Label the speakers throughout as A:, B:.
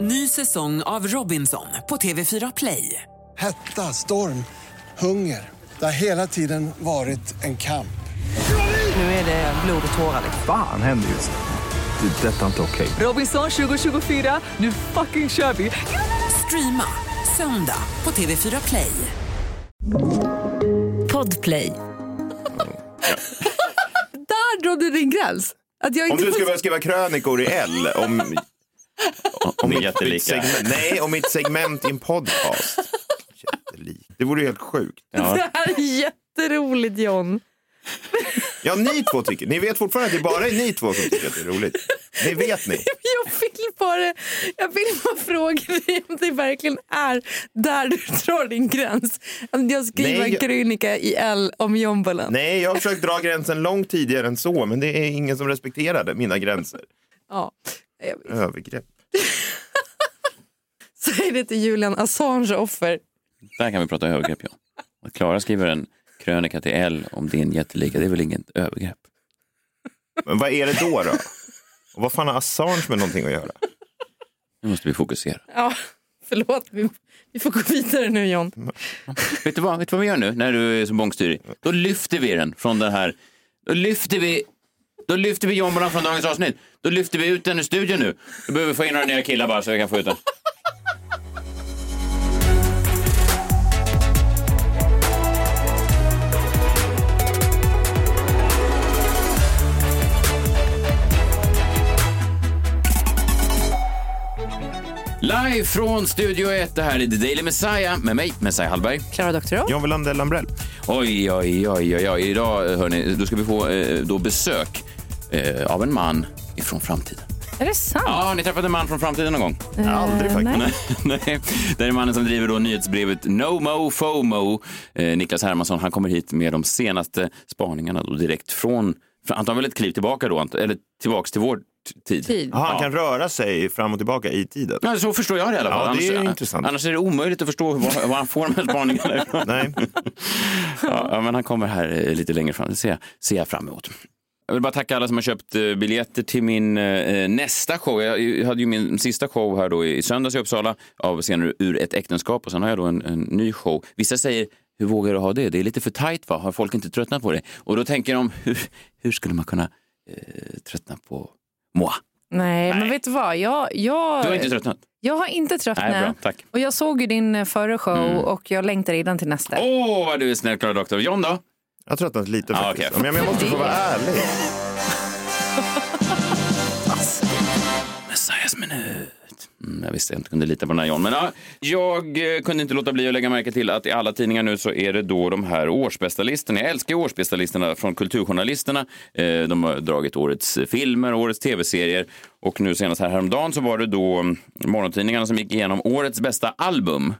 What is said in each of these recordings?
A: Ny säsong av Robinson på TV4 Play.
B: Hetta, storm, hunger. Det har hela tiden varit en kamp.
A: Nu är det blod och tårar. liksom.
C: Fan händer just nu. Det. är Detta är inte okej.
A: Robinson 2024, nu fucking kör vi! Streama söndag på TV4 Play.
D: Podplay. Där drog du din gräns. Att jag
E: Om
D: inte
E: du
D: får-
E: ska börja skriva krönikor i L om, om,
F: är
E: mitt,
F: jättelika.
E: mitt segment, nej, om mitt segment i en podcast. Jättelik. Det vore ju helt sjukt.
D: Det här är jätteroligt John.
E: Ja, ni två tycker. Ni vet fortfarande att det bara är ni två som tycker att det är roligt. Det vet ni.
D: Jag vill bara, jag vill bara fråga dig om det verkligen är där du drar din gräns. Att jag skriver
E: Nej,
D: en
E: jag-
D: krönika i L om Jombolan.
E: Nej, jag har försökt dra gränsen långt tidigare än så, men det är ingen som respekterade mina gränser.
D: Ja. Jag-
E: Övergrepp.
D: Säg det till Julian Assange offer.
F: Där kan vi prata övergrepp, ja. Att Klara skriver en krönika till L om din jättelika, det är väl inget övergrepp?
E: Men vad är det då? då? Och vad fan har Assange med någonting att göra?
F: Nu måste vi fokusera.
D: Ja, förlåt, vi, vi får gå vidare nu John.
F: Vet du, vad, vet du vad vi gör nu när du är så bångstyrig? Då lyfter vi den från den här... Då lyfter vi... Då lyfter vi jombolan från dagens avsnitt. Då lyfter vi ut den ur studion nu. Då behöver vi få in några nya killar bara så vi kan få ut den. Live från Studio 1. Det här är The Daily Messiah med mig, Messiah Hallberg.
D: Klara Doktorow.
E: John Welander Lambrell.
F: Oj, oj, oj, oj, oj. Idag hörni, då ska vi få eh, då besök eh, av en man ifrån framtiden.
D: Är det sant?
F: Ja, har ni träffat en man från framtiden någon gång?
E: Aldrig faktiskt.
F: Nej. Nej. Det är mannen som driver då nyhetsbrevet No Mo FOMO. Eh, Niklas Hermansson, han kommer hit med de senaste spaningarna då direkt från, från han tar väl ett kliv tillbaka då, ant- eller tillbaks till vår t- tid.
D: Tid.
E: Aha, han
F: Ja.
E: kan röra sig fram och tillbaka i tiden.
F: Ja, så förstår jag det i alla fall.
E: Ja, det är
F: annars,
E: intressant.
F: annars är det omöjligt att förstå var, var han får de här spaningarna ifrån.
E: Nej.
F: Ja, ja, men han kommer här eh, lite längre fram. Det ser jag, ser jag fram emot. Jag vill bara tacka alla som har köpt eh, biljetter till min eh, nästa show. Jag jag hade ju min sista show här då i i söndags i Uppsala av scener ur ett äktenskap och sen har jag då en, en ny show. Vissa säger, hur vågar du ha det? Det är lite för tajt va? Har folk inte tröttnat på det? Och då tänker de, hur, hur skulle man kunna eh, tröttna på moi?
D: Nej, men vet du vad? Jag, jag,
F: Du har inte tröttnat?
D: jag har inte tröttnat.
F: Nej, bra, tack.
D: Och jag såg ju din eh, förra show
E: Mm.
D: och jag längtar redan till nästa.
F: Åh, vad du är snäll Klara Doktor. John då?
E: Jag har tröttnat lite
F: Ja,
E: faktiskt.
F: okej.
E: Men jag måste få vara ärlig.
F: Messias minut. Mm, jag visste jag inte kunde lita på den här John. Men ja, jag eh, kunde inte låta bli att lägga märke till att i alla tidningar nu så är det då de här årsbästa listorna. Jag älskar ju årsbästa listorna från kulturjournalisterna. Eh, De har dragit årets filmer, årets tv-serier och nu senast här häromdagen så var det då mm, morgontidningarna som gick igenom årets bästa album.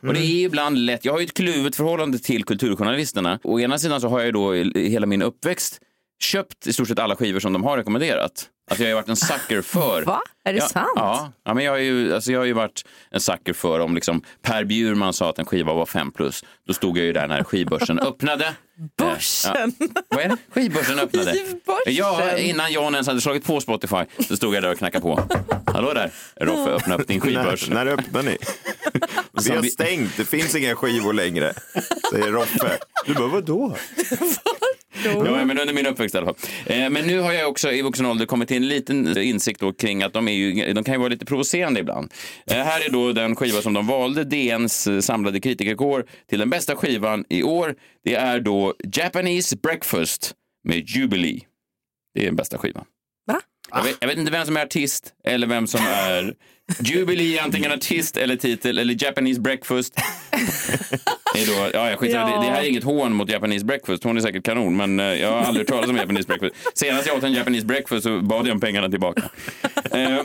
F: Och det är ibland lätt, jag har ju ett kluvet förhållande till kulturjournalisterna. Å ena sidan så har jag ju då i- i hela min uppväxt köpt i stort sett alla skivor som de har rekommenderat. Alltså jag har ju varit en sucker för
D: Va? Är det
F: ja,
D: sant?
F: Ja, ja men jag, har ju, alltså jag har ju varit en sucker för om liksom Per Bjurman sa att en skiva var 5 plus. Då stod jag ju där när skivbörsen öppnade. Eh,
D: Börsen!
F: Vad är det? Skivbörsen öppnade.
D: Skivbörsen.
F: Ja, innan John ens hade slagit på Spotify så stod jag där och knackade på. Hallå där, Roffe, öppna upp din skivbörs.
E: När, när öppnar ni? Vi har
F: vi-
E: stängt, det finns inga skivor längre, säger Roffe. Du bara, vadå?
F: Ja, men under min uppväxt i alla fall. Eh, Men nu har jag också i vuxen ålder kommit till en liten insikt då kring att de, är ju, de kan ju vara lite provocerande ibland. Eh, Här är då den skiva som de valde, DNs eh, samlade kritikerkår till den bästa skivan i år. Det är då Japanese Breakfast med Jubilee. Det är den bästa skivan.
D: Va?
F: Jag vet, jag vet inte vem som är artist eller vem som är Jubilee, är antingen artist eller titel, eller Japanese breakfast. Det är då, ja, jag skiter,
D: Ja.
F: det, det här är inget hån mot Japanese breakfast, hon är säkert kanon, men eh, jag har aldrig hört talas om Japanese breakfast. Senast jag åt en Japanese breakfast så bad jag om pengarna tillbaka. Eh,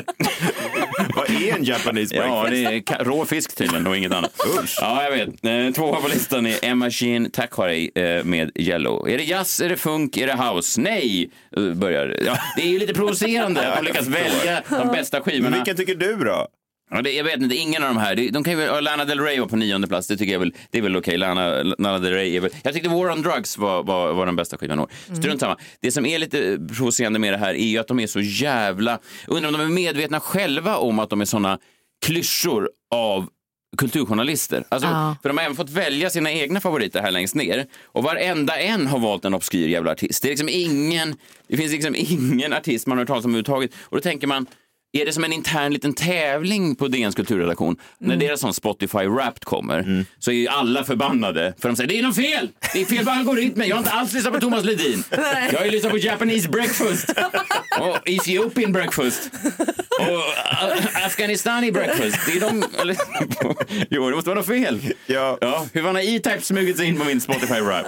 E: Vad är en Japanese
F: ja,
E: breakfast?
F: det är ka- rå fisk tydligen och inget annat. Ja, jag vet. Eh, Tvåa på listan är Emma Sheen Takwari eh, med Yellow. Är det jazz, är det funk, är det house? Nej, eh, börjar ja, Det är ju lite provocerande att de lyckas välja de bästa
E: Men
F: skivorna.
E: vilken tycker du då?
F: Ja, det, jag vet inte, ingen av de här. Det- De kan ju, ja, Lana Del Rey var på nionde plats, det tycker jag väl, det är väl okej. Lana, Lana Del Rey är väl, jag tyckte War on Drugs var, var, var den bästa skivan i år. Strunt samma. Det som är lite provocerande med det här är ju att de är så jävla, undrar om de är medvetna själva om att de är såna klyschor av kulturjournalister. Alltså,
D: Ja.
F: För de har även fått välja sina egna favoriter här längst ner. Och varenda en har valt en obskyr jävla artist. Det, är liksom ingen, det finns liksom ingen artist man har hört talas om överhuvudtaget. Och då tänker man, är det som en intern liten tävling på DNs kulturredaktion?
D: Mm.
F: När deras sån Spotify Wrapped kommer så är ju alla förbannade. För de säger, det är något fel! Det är fel på algoritmen. Jag har inte alls lyssnat på Thomas Ledin.
D: Nej.
F: Jag har ju lyssnat på Japanese breakfast. Och Ethiopian breakfast. Och uh, Afghanistani breakfast. Det är de... Eller, jo, det måste vara något fel.
E: Ja.
F: hur fan har E-Type smugit sig in på min Spotify-rap?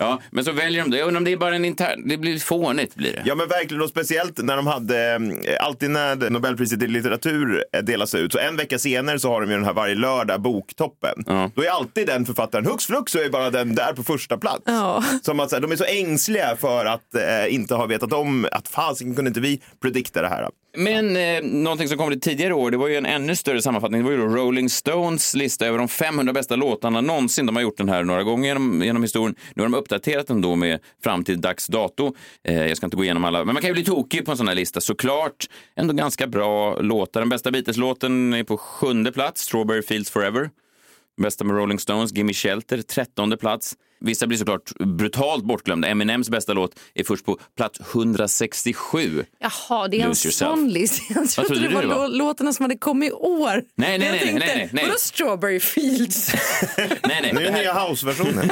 F: Ja. men så väljer de det. Jag undrar om det är bara en intern... Det blir fånigt. Blir det.
E: Ja men verkligen och speciellt när de hade, eh, alltid när Nobelpriset i litteratur eh, delas ut, så en vecka senare så har de ju den här varje lördag boktoppen.
F: Ja.
E: Då är alltid den författaren, hux flux så är bara den där på första plats.
D: Ja.
E: Som att så här, de är så ängsliga för att eh, inte ha vetat om att fasiken kunde inte vi predikta det här.
F: Men eh, någonting som kom lite tidigare i år, det var ju en ännu större sammanfattning. Det var ju då Rolling Stones lista över de 500 bästa låtarna någonsin. De har gjort den här några gånger genom, genom historien. Nu har de uppdaterat den då med fram till dags dato. Eh, jag ska inte gå igenom alla, men man kan ju bli tokig på en sån här lista såklart. Ändå ganska bra låtar. Den bästa Beatles-låten är på sjunde plats, Strawberry Fields Forever. Bästa med Rolling Stones, Gimme Shelter, trettonde plats. Vissa blir såklart brutalt bortglömda. Eminems bästa låt är först på plats 167.
D: Jaha, det är en
F: Lose yourself.
D: sån list. Jag trodde,
F: trodde
D: det
F: du
D: var,
F: det var?
D: lå- låtarna som hade kommit i år.
F: nej,
D: Jag
F: nej,
D: tänkte,
F: nej, nej, nej.
D: Vadå Strawberry Fields?
F: Nej, nej,
E: Nu
F: det
E: är
F: här-
E: nya house-versionen.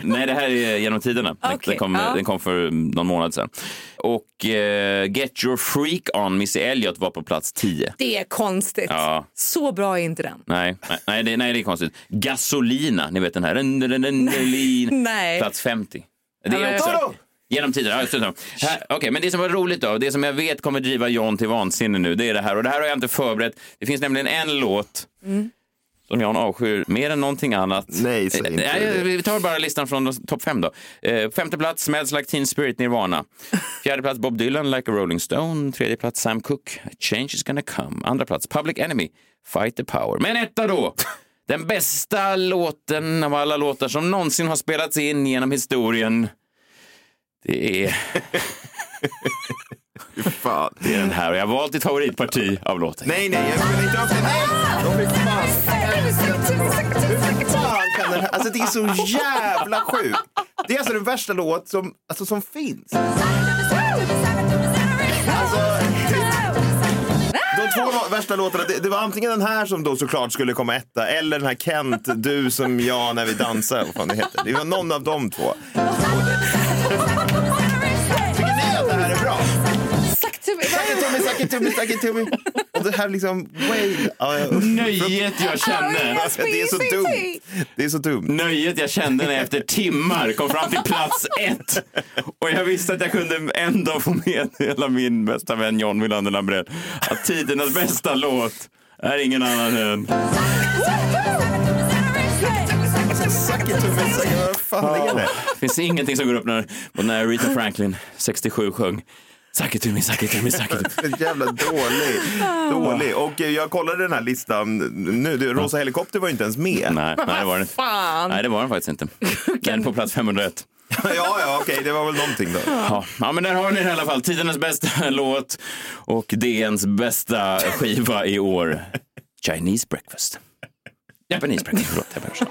F: Nej, det här är genom tiderna. Den,
D: Okej,
F: den, kom,
D: ja.
F: den kom för någon månad sedan. Och eh, Get Your Freak On, Missy Elliott var på plats 10.
D: Det är konstigt.
F: Ja.
D: Så bra är inte den.
F: Nej, nej, nej, det, nej, det är konstigt. Gasolina, ni vet den här. Run, run, run, Lin.
D: Nej.
F: Plats 50. Det
D: men-
F: är också... Genom tiderna. Ja, just det. Här- Okej, men det som var roligt då, det som jag vet kommer driva John till vansinne nu, det är det här. Och det här har jag inte förberett. Det finns nämligen en låt som Jan avskyr mer än någonting annat.
E: Nej, säg inte
F: Eh, nej,
E: det.
F: Vi tar bara listan från de topp fem då. Eh, femte plats, Smells Like Teen Spirit, Nirvana. Fjärde plats, Bob Dylan, Like a Rolling Stone. Tredje plats, Sam Cooke, Change is gonna come. Andra plats, Public Enemy, Fight the Power. Men etta då! Den bästa låten av alla låtar som någonsin har spelats in genom historien. Det är,
E: Fan.
F: det är den här och jag har valt ditt favoritparti av låten.
E: Nej, nej, jag skulle inte ha haft den. Nej, de fick fan. fan kan den här... Alltså det är så jävla sjukt. Det är alltså den värsta låt som, alltså, som finns. De två lå- värsta låtarna, det, det var antingen den här som då såklart skulle komma etta eller den här Kent, du som jag när vi dansar. Vad fan det heter. Det var någon av de två. Tycker ni att det här är bra?
D: Sagt till mig.
E: Tummy, sucky, tummy, sucky, tummy. Och det här liksom, way... Ja, ja, usch.
F: Nöjet jag kände.
E: Det är så dumt. Det är så dumt.
F: Nöjet jag kände när jag efter timmar kom fram till plats ett. Och jag visste att jag kunde en dag få med hela min bästa vän John Wilander Lambrell att tidernas bästa låt är ingen annan än...
E: Sucky, tummy, sucky, vad fan är det?
F: Det finns ingenting som går upp när, och när Rita Franklin, 67, sjöng Suck it to me, suck it to me, suck it to me.
E: Så jävla dålig. dålig. Och eh, jag kollade den här listan nu. Det- Rosa Helikopter var ju inte ens med.
F: Nej, nej, det var den.
D: Fan.
F: nej, det var den faktiskt inte. Den är på plats 501.
E: Ja, ja, okej, det var väl någonting då.
F: Ja, ja, men där har ni den i alla fall. Tidernas bästa låt och DNs bästa skiva i år. Chinese breakfast. Japanese breakfast, förlåt. jag ber om ursäkt.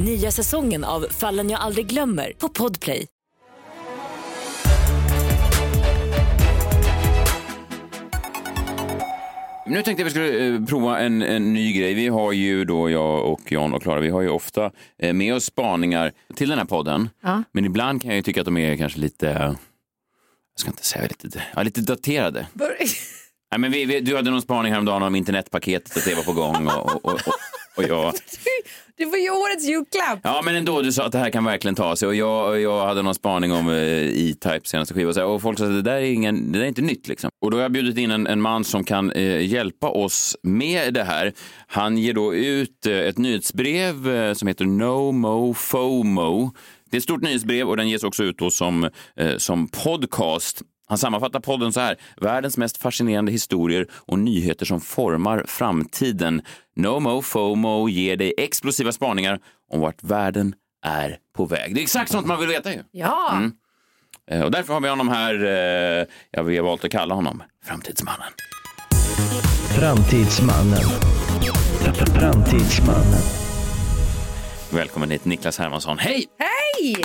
G: Nya säsongen av Fallen jag aldrig glömmer på Podplay.
F: Nu tänkte jag vi skulle eh, prova en, en ny grej. Vi har ju då, jag och Jan och Klara, vi har ju ofta eh, med oss spaningar till den här podden.
D: Ja.
F: Men ibland kan jag ju tycka att de är kanske lite, eh, jag ska inte säga lite, ja, lite daterade.
D: Bör-
F: Nej, men vi, vi, du hade någon spaning häromdagen om internetpaketet, att det var på gång. Och, och, och, och, Och jag,
D: Det var ju årets julklapp.
F: ja, men ändå, du sa att det här kan verkligen ta sig. Och jag, jag hade någon spaning om eh, E-Type senaste skiva. Och, så här, och folk sa att det där är, ingen, det där är inte nytt. Liksom. Och då har jag bjudit in en, en man som kan eh, hjälpa oss med det här. Han ger då ut eh, ett nyhetsbrev eh, som heter No Mo FOMO. Det är ett stort nyhetsbrev och den ges också ut då som, eh, som podcast. Han sammanfattar podden så här. Världens mest fascinerande historier och nyheter som formar framtiden. Nomo FOMO ger dig explosiva spaningar om vart världen är på väg. Det är exakt sånt man vill veta ju.
D: Ja.
F: Eh, Och därför har vi honom här. eh, Ja, vi har valt att kalla honom Framtidsmannen.
H: Framtidsmannen. Framtidsmannen.
F: Välkommen hit Niklas Hermansson. Hej!
D: Hej!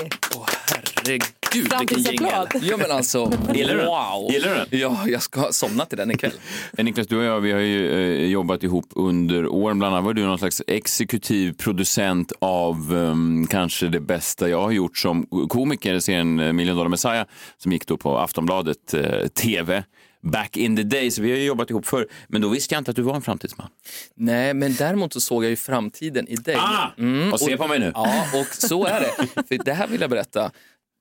F: Herregud, vilken jingel.
D: Framtidsapplåd.
I: Ja men alltså,
F: Gillar du den?
I: wow.
F: Gillar du den?
I: Ja, jag ska somna till den ikväll.
F: Eh, Niklas, du och jag vi har ju eh, jobbat ihop under åren. Bland annat var du någon slags exekutiv producent av ehm, kanske det bästa jag har gjort som komiker. Serien eh, Million Dollar Messiah som gick då på Aftonbladet eh, TV back in the day. Så vi har ju jobbat ihop förr. Men då visste jag inte att du var en framtidsman.
I: Nej, men däremot så såg jag ju framtiden i dig.
F: Ah! Och se på mig nu.
I: Mm. Ja, och så är det. För det här vill jag berätta.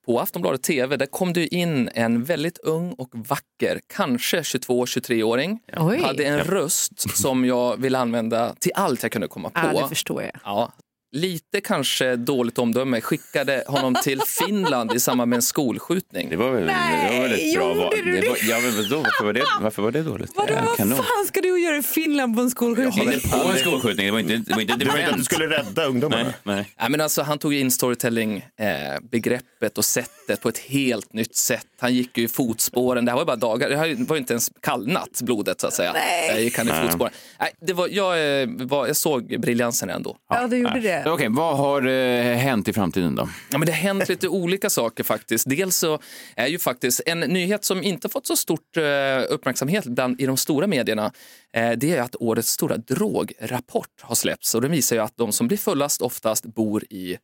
I: På Aftonbladet TV där kom du in en väldigt ung och vacker, kanske 22-23-åring.
D: Oj.
I: Hade en röst som jag ville använda till allt jag kunde komma på.
D: Ja, det förstår jag.
I: Ja, lite kanske dåligt omdöme. Skickade honom till Finland i samband med en skolskjutning.
F: Det var väl, det var väl ett
D: Nej,
F: bra
D: gjorde
F: val.
D: du
F: Det var,
D: det?
F: ja, men vadå, varför, var det, varför var det dåligt?
D: Vadå,
F: Eh,
D: vad fan ska du göra i Finland på en skolskjutning?
F: Inte på en skolskjutning, det var inte, det var inte ett
E: Du vet att du
F: event.
E: skulle rädda ungdomarna?
F: Nej, nej.
I: Ja, men alltså, han tog in storytelling-begreppet eh, begreppet och sättet på ett helt nytt sätt. Han gick ju i fotspåren. Det här var ju bara dagar. Det här var ju inte ens kallnat, blodet. så att säga. Nej. Jag gick han i fotspåren. Nej, det var, jag, eh, var, jag såg briljansen ändå.
D: Ja, du gjorde det.
F: Okej, vad har eh, hänt i framtiden då?
I: Ja, men det har hänt lite olika saker faktiskt. Dels så är ju faktiskt en nyhet som inte fått så stort eh, uppmärksamhet bland, i de stora medierna. Eh, det är att årets stora drograpport har släppts och den visar ju att de som blir fullast oftast bor i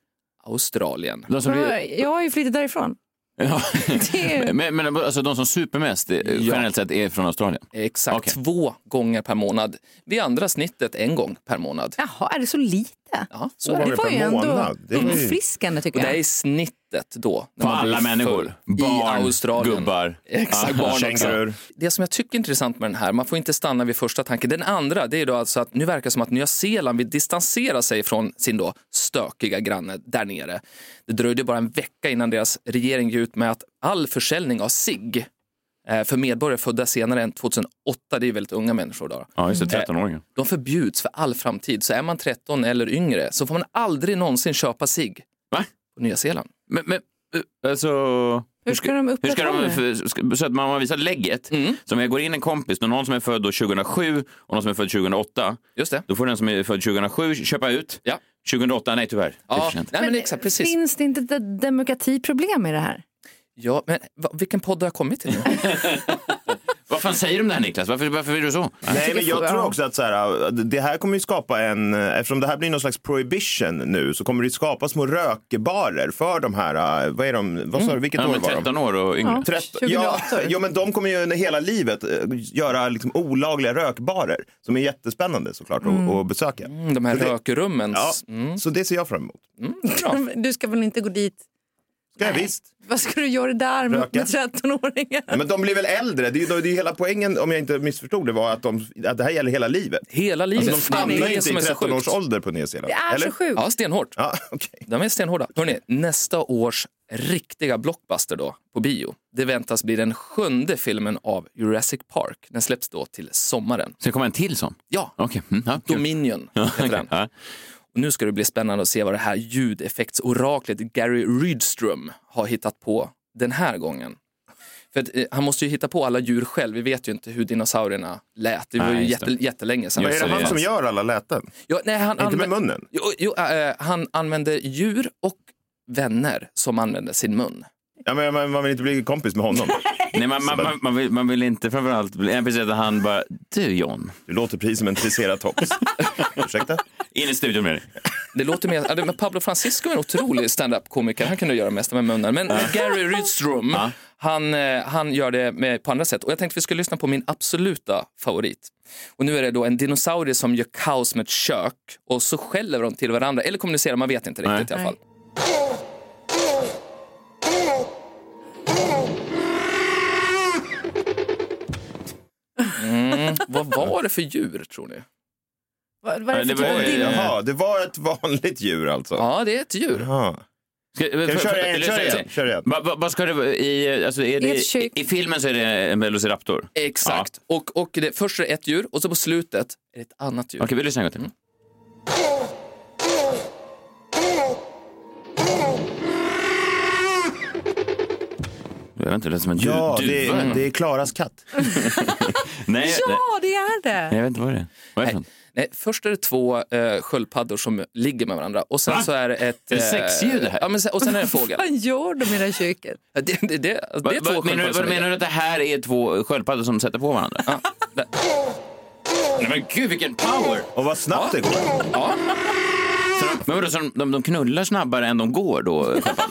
I: Australien.
F: De som blir,
D: Jag har ju flyttat därifrån.
F: ja.
D: Det är-
F: men, men alltså, de som super mest eh, generellt sett är från Australien?
I: Exakt
F: Okej.
I: två gånger per månad. Vi andra snittet en gång per månad.
D: Jaha, är det så lite?
I: Ja, så
E: Två
I: är
E: gånger
I: det.
D: Det var
E: per
D: ju ändå
E: månad. Det är ju-
D: uppfriskande tycker
I: Och det här
D: jag.
I: är snittet då. när
F: På
I: man blir
F: alla människor?
I: full I
F: Barn,
I: Australien.
F: gubbar?
I: Exakt, barn också.
E: Kängurur.
I: Det som jag tycker är intressant med den här, man får inte stanna vid första tanken. Den andra, det är då alltså att nu verkar det som att Nya Zeeland vill distansera sig från sin då stökiga granne där nere. Det dröjde bara en vecka innan deras regering gick ut med att all försäljning av sig eh, för medborgare födda senare än 2008, det är ju väldigt unga människor då,
F: Ja, just det, 13-åringar.
I: de förbjuds för all framtid. Så är man 13 eller yngre så får man aldrig någonsin köpa sig
F: Va?
I: på Nya Zeeland.
F: Men, men eh, alltså...
D: Hur ska de
F: Hur ska
D: upprätthålla
F: de,
D: det?
F: för, ska- så att man visar lägget.
I: Mm.
F: Så om jag går in en kompis, då någon som är född då 2007 och någon som är född 2008,
I: Just det.
F: då får den som är född 2007 köpa ut.
I: Ja.
F: 2008, nej tyvärr. Det är
I: Ja,
F: för sent.
I: nej, men exakt, precis.
D: Finns det inte ett demokratiproblem i det här?
I: Ja, men va- vilken podd har jag kommit till? nu?
F: Vad fan säger du om det här Niklas? Varför, varför är du så?
E: Nej, men jag
D: Ja.
E: tror också att så här, äh, det här kommer ju skapa en, äh, eftersom det här blir någon slags prohibition nu så kommer det skapa små rökbarer för de här, äh, vad är de, vad
I: Mm.
E: sa du, vilket
F: Ja,
E: år
F: men
E: var de?
F: 13 år och yngre.
E: 13, ja,
D: 2008.
E: ja, men de kommer ju under hela livet eh, göra liksom olagliga rökbarer som är jättespännande såklart att, att besöka.
I: Mm, De här
E: Så det-
I: rökrummen.
E: Ja,
I: Mm,
E: Så det ser jag fram emot.
I: bra.
D: Du ska väl inte gå dit?
E: Ska jag visst.
D: Vad ska du göra där med,
E: Röka. Mm.
D: med 13-åringar?
E: Ja, Men de blir väl äldre? Det är, ju- det är ju hela poängen, om jag inte missförstod det, var att, de, att det här gäller hela livet.
I: Hela livet.
E: Alltså, de
I: det är
E: stannar
I: det
E: ju inte i
I: som är så
E: 13 års
I: sjukt.
E: ålder på Nya Zeeland.
D: Det är
E: eller?
D: så sjukt.
I: Ja, stenhårt.
E: Ja, okej.
I: De är stenhårda. Hörrni, nästa års riktiga blockbuster då på bio. Det väntas bli den sjunde filmen av Jurassic Park. Den släpps då till sommaren.
F: Ska det komma en till sån?
I: Ja,
F: Okej. Mm, ja, kul.
I: Dominion heter den.
F: Ja.
I: Och nu ska det bli spännande att se vad det här ljudeffektsoraklet Gary Rydström har hittat på den här gången. För att, eh, han måste ju hitta på alla djur själv. Vi vet ju inte hur dinosaurierna lät. Det var
F: Nej,
I: ju
F: just
I: jätte, jättelänge sedan.
E: Vad är det han som gör alla läten?
I: Ja, nej, han
E: Inte med
I: anvä-
E: munnen?
I: Jo, jo, eh, han använder djur och vänner som använder sin mun.
E: Ja, men man, man vill inte bli kompis med honom.
F: Nej, man, man, man, man, vill, man vill inte framförallt bli en precis att han bara, du John,
E: Du låter precis som en triceratops. Ursäkta?
F: in i studion med dig.
I: Det låter mer, ja, det- men Pablo Francisco är en otrolig stand-up komiker Han kunde göra mest med munnen. Men Gary Rydström, Han, eh, han gör det med, på andra sätt. Och jag tänkte vi skulle lyssna på min absoluta favorit. Och nu är det då en dinosaurie som gör kaos med ett kök och så skäller de till varandra. Eller kommunicerar, man vet inte riktigt i alla fall. Mm, vad var det för djur tror ni?
D: Vad, vad är det
F: Nej,
D: för
F: det var-
D: typ av dinos?
E: Jaha, det var ett vanligt djur alltså?
I: Ja, det är ett djur.
E: Jaha.
F: Ska,
E: Kan vi köra igen? Kör igen. Kör igen.
F: Vad va, vad ska det vara i, alltså är
D: ett
F: det, i,
D: kök.
F: I filmen så är det en velociraptor. Okej,
I: Exakt. Och, och det, först är det ett djur och så på slutet är det ett annat djur. Mm.
F: vi lyssnar en gång till. Jag vet inte, det lät som en du,
E: Ja,
F: duva.
E: det,
F: eller något.
E: det är Klaras katt.
F: Nej, nej,
D: Ja, det är
F: nej,
D: det.
F: jag vet inte vad det är. Vad är det för något?
I: Nej, först är det två eh, sköldpaddor som ligger med varandra och sen
F: Va?
I: så är det ett... eh,
F: Är det sexdjur det här?
I: Ja, men sen, och sen är det en fågel.
D: Vad gör de i det här köket?
I: Ja, Det, det, det, det
F: Va-
I: är två
F: va- menar,
I: sköldpaddor
F: du-
I: som
F: vad
I: ligger.
F: menar du att det här är två sköldpaddor som sätter på varandra? Nej, men gud vilken power!
E: Och vad snabbt det går.
F: Så de, men vadå, så de, de, de knullar snabbare än de går då? sköldpaddor?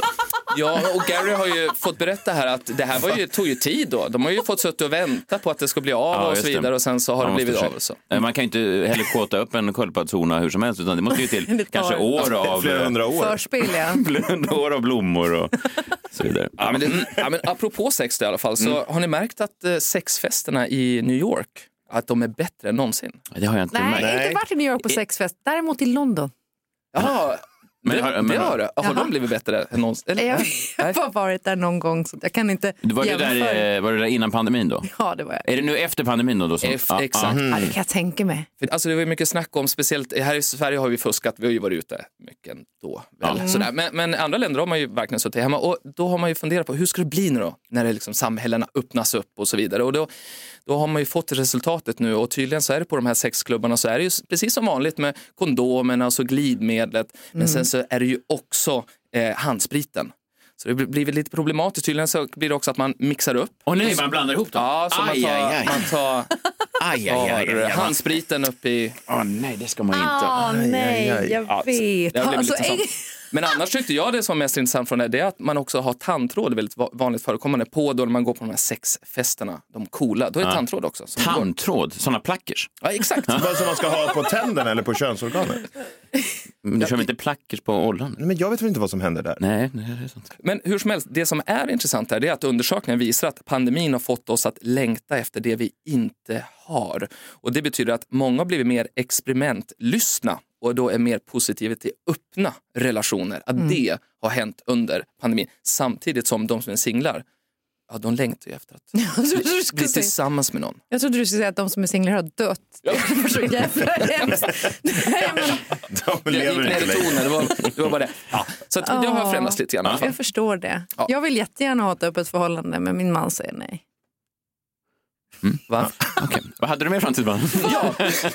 I: Ja, och Gary har ju fått berätta här att det här var ju, tog ju tid då. De har ju fått sitta och vänta på att det ska bli av
F: Ja,
I: och
F: just
I: så
F: det.
I: vidare och sen så har
F: Man
I: det
F: måste
I: blivit av.
F: försöka-
I: Och så.
F: Eh, Man kan ju inte heller kåta upp en sköldpaddshona hur som helst utan det måste ju till
D: tar-
F: kanske år av,
E: Flera
F: eh,
E: hundra år.
D: Förspel, ja.
F: flera hundra år av blommor och så vidare.
I: Ja, men det, ja, men apropå sex då i alla fall, så
F: Mm.
I: har ni märkt att eh, sexfesterna i New York, att de är bättre än någonsin?
F: Det har jag inte
D: Nej,
F: märkt.
D: jag har inte varit i New York på sexfest. Däremot i London.
I: Ja,
F: Men
I: det,
F: har-
I: har,
F: men-
I: det har du. Har de blivit bättre än någonsin? Eller?
D: Jag
I: Nej.
D: har bara varit där någon gång, så jag kan inte
F: Var det, där, eh, var det där innan pandemin då?
D: Ja, det var jag.
F: Är det nu efter pandemin då? då som,
I: Eff-
F: Ja, Mm. ja.
I: exakt.
D: Ja, det kan jag tänka mig.
I: För, alltså, det var ju mycket snack om, speciellt här i Sverige har vi fuskat, vi har ju varit ute mycket då. Väl, sådär.
F: Mm.
I: Men, men andra länder har man ju verkligen suttit hemma och då har man ju funderat på hur ska det bli nu då? När det liksom samhällena öppnas upp och så vidare. Och då, då har man ju fått resultatet nu och tydligen så är det på de här sexklubbarna så är det ju s- precis som vanligt med kondomerna och så glidmedlet. Men
F: Mm.
I: sen så är det ju också eh, handspriten. Så det blir- blir väl lite problematiskt. Tydligen så blir det också att man mixar upp.
F: Åh nej, man blandar ihop dem?
I: Ja, så man
F: Aj,
I: tar,
F: aj, aj.
I: Man tar
F: Aj,
I: tar handspriten upp i
F: Åh nej, det ska man ju inte.
I: Ah.
D: Åh Ah, nej, jag vet.
I: Det blev
D: Alltså,
I: lite
D: ägg-
I: sånt. Men annars tyckte jag det som mest intressant från det, det är att man också har tandtråd väldigt va- vanligt förekommande på då när man går på de här sexfesterna, de coola. Då är det tandtråd också. som går.
F: Tandtråd, sådana plackers.
I: Ja, exakt.
E: Vad som man ska ha på tänderna eller på könsorganet.
F: Men du kör väl inte plackers på ollan?
E: Nej, men jag vet väl inte vad som händer där.
F: Nej, nej, det är sant.
I: Men hur som helst, det som är intressant här det är att undersökningen visar att pandemin har fått oss att längta efter det vi inte har. Och det betyder att många har blivit mer experimentlystna och då är mer positiva till öppna relationer. Att det har hänt under pandemin. Samtidigt som de som är singlar, ja de längtar ju efter att
D: Jag trodde alltså, du
I: bli
D: skulle säga-
I: tillsammans med någon.
D: jag trodde du skulle säga att de som är singlar har dött. Det var så jävla hemskt. Nej, men,
E: De
I: Jag gick
E: lever
I: ner
E: inte
I: i
E: längre.
I: tonen, det var, det var bara det. Ja. Så att det har förändrats lite grann. i alla fall.
D: jag förstår det. Jag vill jättegärna ha ett öppet förhållande, men min man säger nej.
I: Va?
F: Okej. Vad hade du med fram till Vad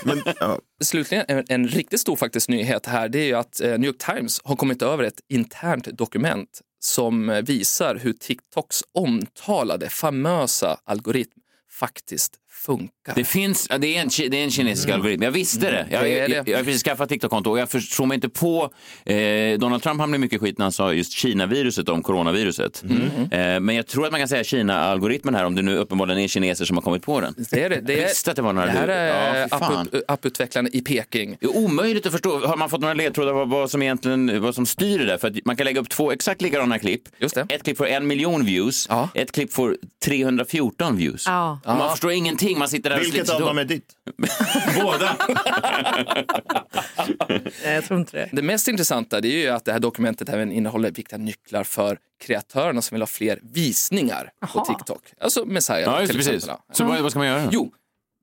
E: Men, ja.
I: Slutligen, en, en riktigt stor faktiskt nyhet här, det är ju att eh, New York Times har kommit över ett internt dokument som eh, visar hur TikToks omtalade famösa algoritm faktiskt funkar.
F: Det finns, ja, det är en, ki- det är en kinesisk algoritm. Jag visste det. Jag,
I: Mm. Det är
F: jag,
I: det.
F: jag, har precis skaffat TikTok-konto och jag förstår mig inte på... Eh, Donald Trump hamnade i mycket skit när han sa just Kina-viruset om coronaviruset.
I: Mm.
F: Eh, men jag tror att man kan säga Kina-algoritmen här om det nu uppenbarligen är kineser som har kommit på den.
I: Det är det. Det,
F: Jag
I: är,
F: visste att det var några
I: det här
F: lurar.
I: är
F: Ja, fy fan.
I: appup- apputvecklarna i Peking.
F: Det är omöjligt att förstå. Har man fått några ledtrådar vad, vad som egentligen vad som styr det där? För att man kan lägga upp två exakt likadana klipp.
I: Just det.
F: Ett klipp får en miljon views,
I: Ja.
F: ett klipp får 314 views.
D: Ja.
F: Och Man förstår ingenting, man sitter där och
E: Vilket
F: sliter
E: av
F: sig
E: dem
F: då.
E: är ditt?
F: Båda!
D: Nej, jag tror inte det.
I: Det mest intressanta det är ju att det här dokumentet även innehåller viktiga nycklar för kreatörerna som vill ha fler visningar på
D: Jaha.
I: TikTok. Alltså Messiah
F: Ja, just det,
I: till
F: precis.
I: exempel. Mm.
F: Så vad, vad ska man göra? då?
I: Jo,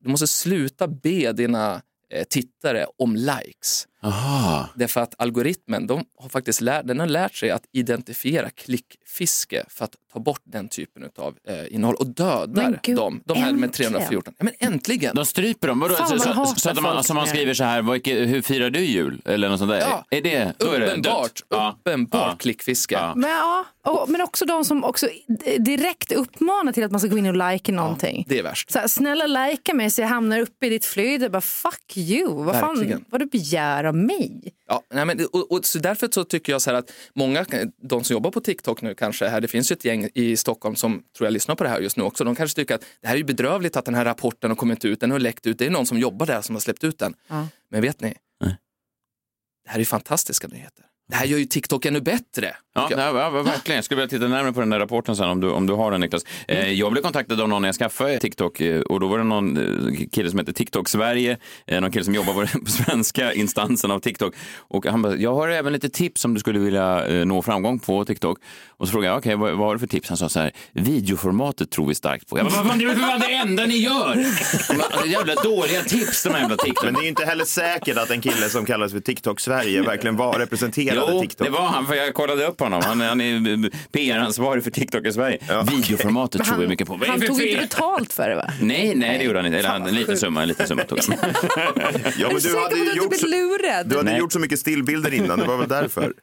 I: du måste sluta be dina eh, tittare om likes.
F: Aha.
I: Därför att algoritmen de har faktiskt lär, den har lärt sig att identifiera klickfiske för att ta bort den typen av eh, innehåll och
D: Men
I: dödar
D: gud,
I: dem. De här med
D: äntligen.
I: 314. Ja, men äntligen!
F: De stryper dem? Vadå?
D: Fan,
F: så,
D: man
F: så,
D: hatar
F: så, att man,
D: folk
F: så man
D: som
F: skriver så här, "Vad- hur firar du jul? Eller något sånt där.
I: Ja.
F: Är det, då är det
I: uppenbart
F: dött. Ja.
I: uppenbart
F: Ja.
I: klickfiske.
F: Ja.
D: Men, ja, och, men också de som också d- direkt uppmanar till att man ska gå in och like någonting.
I: Det är värst.
D: Så här, snälla likea mig så jag hamnar uppe i ditt flöde. Bara, fuck you. Vad
I: Verkligen.
D: fan vad du begär av mig.
I: Ja, nej men, och, och, så därför så tycker jag så här att många, de som jobbar på TikTok nu kanske, här, det finns ju ett gäng i Stockholm som tror jag lyssnar på det här just nu också, de kanske tycker att det här är ju bedrövligt att den här rapporten har kommit ut, den har läckt ut, det är någon som jobbar där som har släppt ut den.
D: Ja.
I: Men vet ni?
F: Nej.
I: Det här är ju fantastiska nyheter. Det här gör ju TikTok ännu bättre.
F: Ja,
I: tycker jag.
F: ja, ja, verkligen. Jag skulle vilja titta närmare på den där rapporten sen om du, om du har den Niklas.
E: Mm.
F: Eh, jag blev kontaktad av någon när jag skaffade TikTok eh, och då var det någon eh, kille som heter TikTok Sverige, eh, någon kille som jobbar på den svenska instansen av TikTok. Och han bara, jag har även lite tips om du skulle vilja eh, nå framgång på TikTok. Och så frågade jag, okej, vad, vad har du för tips? Han sa så här, videoformatet tror vi starkt på. Jag bara, vad fan, det är väl fan det enda ni gör! Alltså, jävla dåliga tips, de här jävla TikTok.
E: Men det är ju inte heller säkert att en kille som kallas för TikTok Sverige verkligen var representerade
F: Jo,
E: TikTok.
F: det var han, för jag kollade upp honom. Han, han är PR-ansvarig för TikTok i Sverige. Videoformatet tror jag mycket på. Vad är
D: Han
F: det för
D: tog inte
F: fel?
D: betalt för det va?
F: Nej, nej, det gjorde han inte. Eller han, en liten summa, en liten summa tog han.
E: Ja,
D: är du säker på att du inte blivit
E: så,
D: lurad?
E: du hade
F: Nej.
E: gjort så mycket stillbilder innan, det var väl därför.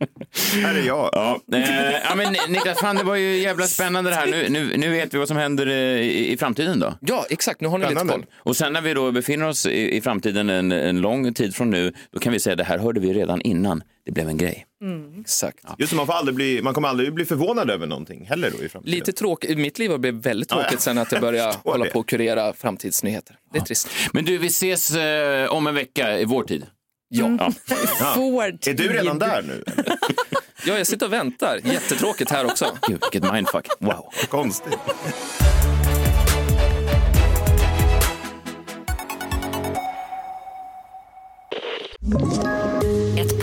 E: Här är jag.
F: Ja, eh, ja, men Niklas, fan, det var ju jävla spännande det här. Nu, nu, nu vet vi vad som händer eh, i, i framtiden då.
I: ja, exakt. Nu har ni
E: Spännande.
I: lite koll.
F: Och sen när vi då befinner oss i, i framtiden en, en lång tid från nu, då kan vi säga det här hörde vi redan innan det blev en grej.
D: Mm.
I: Exakt.
E: Just det, man, får aldrig bli, man kommer aldrig bli förvånad över någonting heller då i framtiden.
I: Lite tråkigt. Mitt liv har blivit väldigt tråkigt sen att jag började
E: förstår
I: hålla
E: det.
I: på och kurera framtidsnyheter. Det är trist.
F: Men du, vi ses eh, om en vecka i vår tid.
I: Ja.
D: Mm. Ford.
E: Är du redan där nu?
I: ja, jag sitter och väntar. Jättetråkigt här också.
F: Gud, vilket mindfuck. Wow.
E: Konstigt.
G: Ett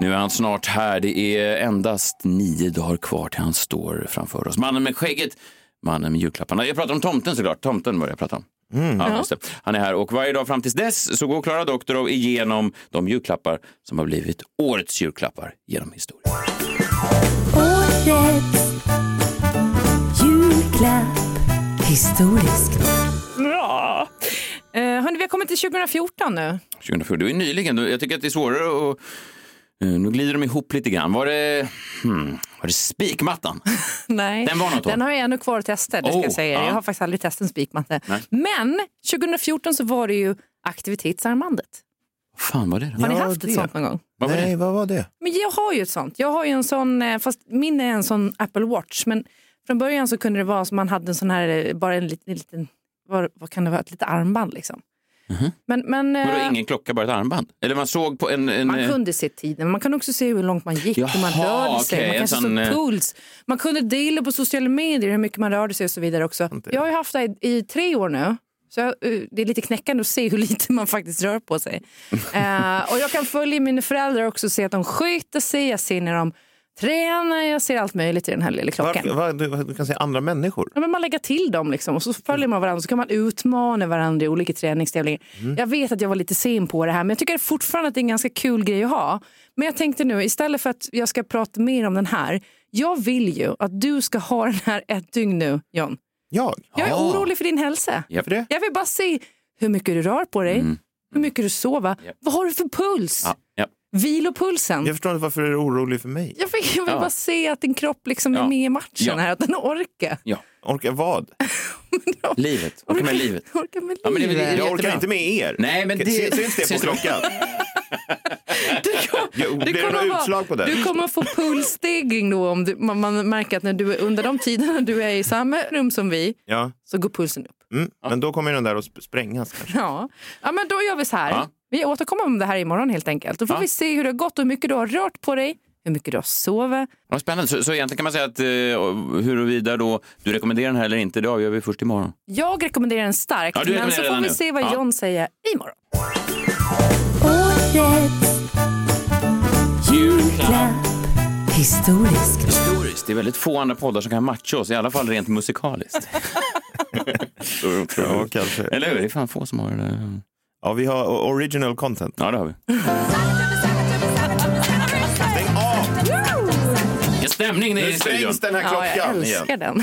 F: Nu är han snart här. Det är endast nio dagar kvar till han står framför oss. Mannen med skägget, mannen med julklapparna. Jag pratar om tomten såklart. Tomten börjar jag prata om.
B: Mm.
F: Ja, just det. Han är här och varje dag fram tills dess så går Klara Doktorov igenom de julklappar som har blivit årets julklappar genom historien.
D: Bra. Eh, hörni, vi har kommit till 2014 nu.
F: 2004, det var ju nyligen. Jag tycker att det är svårare att... Eh, Nu glider de ihop lite grann. Var det, hmm, var det spikmattan?
D: Nej,
F: Den var något, va?
D: den har jag ännu kvar att testa. Det ska
F: Oh,
D: jag, säga.
F: ja.
D: jag har faktiskt aldrig testat en spikmatte.
F: Nej.
D: Men 2014 så var det ju aktivitetsarmbandet.
F: Vad fan var det då?
D: Har ni
B: Ja,
D: haft ett
B: det.
D: sånt någon gång?
F: Vad var det?
B: Nej, vad var det?
D: Men jag har ju ett sånt. Jag har ju en sån, eh, fast min är en sån Apple Watch. Men från början så kunde det vara som man hade en sån här, eh, bara en liten, en liten vad, vad kan det vara, ett litet armband liksom. Men, men eh,
F: Mhm. Vadå, ingen klocka, bara ett armband? Eller man såg på en... eh, en
D: man kunde se tiden, men man kunde också se hur långt man gick, hur man
F: Jaha,
D: rörde sig,
F: okej,
D: man
F: en
D: kanske
F: sån, eh,
D: såg puls. Man kunde dela på sociala medier hur mycket man rörde sig och så vidare också. Jag har ju haft det i, i tre år nu. Så jag, eh, det är lite knäckande att se hur lite man faktiskt rör på sig. Eh, och Jag kan följa mina föräldrar också och se att de skjuter sig, jag ser när de tränar, jag ser allt möjligt i den här lilla klockan.
E: Varför, vad, du, du kan säga andra människor.
D: Ja, men man lägger till dem liksom, och så följer man varandra så kan man utmana varandra i olika träningstävlingar.
F: Mm.
D: Jag vet att jag var lite sen på det här men jag tycker fortfarande att det är en ganska kul grej att ha. Men jag tänkte nu istället för att jag ska prata mer om den här. Jag vill ju att du ska ha den här ett dygn nu John.
E: Jag?
D: Jag är
F: Ja.
D: orolig för din hälsa.
F: Ah. Ja, för det. Mm.
D: Jag vill bara se hur mycket du rör på dig, hur mycket du sover, vad har du för puls?
F: Ja, ja.
D: Vilopulsen.
E: Jag förstår inte varför du är orolig för mig.
D: Jag vill, jag vill
F: Ja.
D: bara se att din kropp liksom
F: Ja.
D: är med i matchen
F: Ja.
D: här, att den orkar.
E: Orkar vad?
F: Livet. Orka med livet.
D: Orkar med
F: Ja, men det är väl-
D: livet.
E: Jag orkar
F: Jättebra.
E: inte med er.
F: Nej, men det-
E: Sy- Syns det på
F: syns det?
E: klockan? Jo, blir det något
D: vara-
E: utslag på det?
D: Du kommer att få pulsstegring då om du, man, man märker att när du är under de tiderna du är i samma rum som vi
E: Ja.
D: så går pulsen upp.
E: Mm. Men då kommer den där att sp- sprängas kanske.
D: Ja, ja men då gör vi så här.
F: Ja.
D: Vi återkommer om det här imorgon helt enkelt. Då får
F: Ja.
D: vi se hur det har gått och hur mycket du har rört på dig, hur mycket du har sovit.
F: Vad spännande. Så, så egentligen kan man säga att eh, huruvida då du rekommenderar den här eller inte, det avgör vi först imorgon.
D: Jag rekommenderar den starkt,
F: Ja, du
D: men så
F: rekommenderar
D: får vi
F: den nu.
D: se vad
F: Ja.
D: John säger imorgon.
F: Historiskt. Det är väldigt få andra poddar som kan matcha oss, i alla fall rent musikaliskt.
E: ja, kanske.
F: Eller hur? Det är fan få som har det där.
E: Ja, vi har o- original content.
F: Ja, det har vi. Ja, stämning
E: Nu sprängs den här klockan
D: ja, jag älskar
E: igen.
D: den.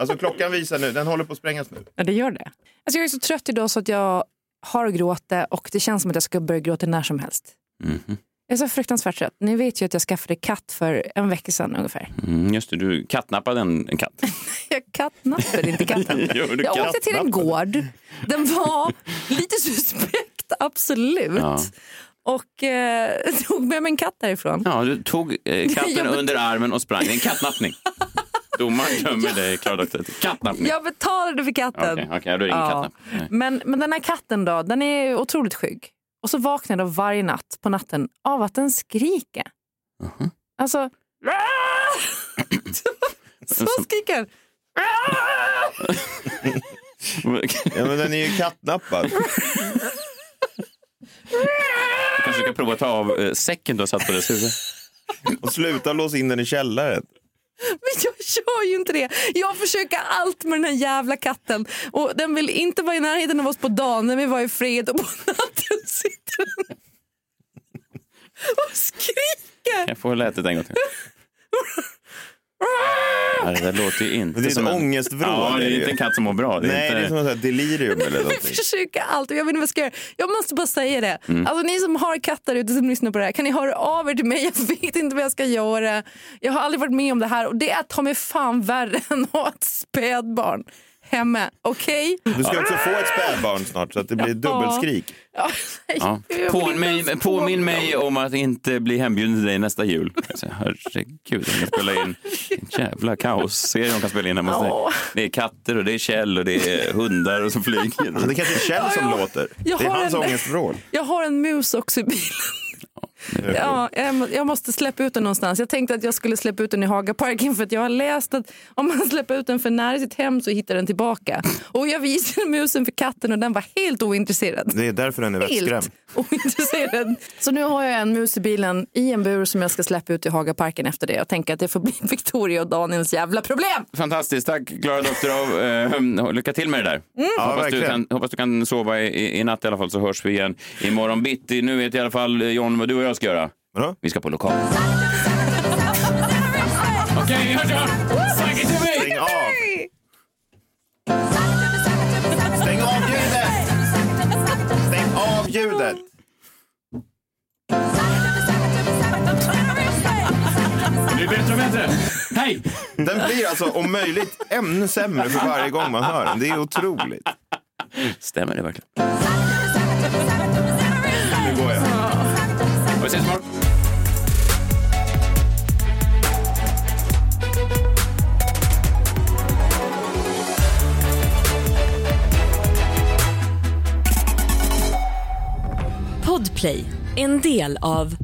E: Alltså klockan visar nu, den håller på att sprängas nu.
D: Ja, det gör det. Alltså, jag är så trött idag så att jag har gråtit och det känns som att jag ska börja gråta när som helst. Jag är så fruktansvärt trött. Ni vet ju att jag skaffade katt för en vecka sedan ungefär.
F: Mm, just det, du kattnappade en, en katt.
D: Jag kattnappade inte katten.
F: Jo, du
D: jag åkte till en
F: kattnappade.
D: gård. Den var lite suspekt, absolut.
F: Ja.
D: Och eh, tog med mig en katt därifrån.
F: Ja, du tog eh,
D: Jag
F: katten
D: bet-
F: under armen och sprang. Det är en kattnappning. Domaren dömer dig, Klara Doktorit. Kattnappning.
D: Jag betalade för katten.
F: Okej, okej, då är det ingen kattnapp. Nej.
D: Men, men den här katten då, den är otroligt skygg. Och så vaknar jag då varje natt på natten av att den skriker.
F: Mhm.
D: Alltså... så skriker den.
E: Ja, men den är ju kattnappad.
F: Du kanske ska prova att ta av eh, säcken du har satt på dess huvud.
E: Och sluta låsa in den i källaren.
D: Men jag gör ju inte det. Jag försöker allt med den här jävla katten. Och Den vill inte vara i närheten av oss på dagen, den vill vara i fred och på natten sitter den och skriker.
F: Jag får lätet en gång till. Ja, det där låter ju inte
E: Det är ett
F: som en...
E: ångestvrål,
F: Ja, det
E: är det
F: är
E: ju.
F: inte en katt som mår bra. Det är
E: Nej,
F: inte...
E: det är som ett delirium eller någonting.
D: Jag försöker allt och jag vet inte vad jag ska göra. Jag måste bara säga det.
E: Mm.
D: Alltså ni som har katter ute som lyssnar på det här, kan ni höra av er till mig? Jag vet inte vad jag ska göra. Jag har aldrig varit med om det här och det är ta mig fan värre än att ha ett spädbarn hemma. Okej?
E: Du ska också få ett spädbarn snart så att det blir ett dubbelskrik.
D: Ja, nej,
F: Ja.
D: jag vill
F: Påminn,
D: inte
F: mig,
D: ens
F: påminn mig om att inte bli hembjuden till dig nästa jul. Alltså, herregud, de kan spela in en jävla kaosserie de kan spela in hemma hos dig. Det är katter och det är Kjell och det är hundar och som flyger.
E: Det kanske är Kjell som låter.
D: jag
E: det är
D: har
E: hans
D: en-
E: ångestvrål.
D: Jag har en mus också i bilen. Ja, jag må- jag måste släppa ut den någonstans. Jag tänkte att jag skulle släppa ut den i Hagaparken för att jag har läst att om man släpper ut den för nära sitt hem så hittar den tillbaka. Och jag visade musen för katten och den var helt ointresserad.
E: Det är därför den är
D: Helt
E: vettskrämd.
D: ointresserad. Så nu har jag en mus i bilen i en bur som jag ska släppa ut i Hagaparken efter det. Jag tänker att det får bli Victoria och Daniels jävla problem.
F: Fantastiskt, tack Klara Doktorov. Eh, lycka till med det där.
E: Ja,
F: hoppas, du
E: verkligen.
F: kan, hoppas du kan sova i, i, i natt i alla fall så hörs vi igen imorgon bitti. Nu vet i alla fall eh, John vad du och jag ska göra. Vi ska på lokal. Okej, vi hörs imorgon. Säkert till mig.
E: Stäng av! Stäng av ljudet! Stäng av ljudet!
F: Det blir bättre och bättre. Hej!
E: Den blir alltså om möjligt ännu sämre för varje gång man hör den. Det är otroligt.
F: Stämmer det verkligen?
E: Nu går jag.
F: Vi ses imorgon.
G: Podplay, en del av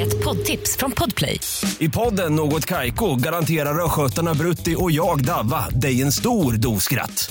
G: Ett poddtips från Podplay.
H: I podden Något Kaiko garanterar östgötarna Brutti och jag, Davva, dig en stor dos skratt.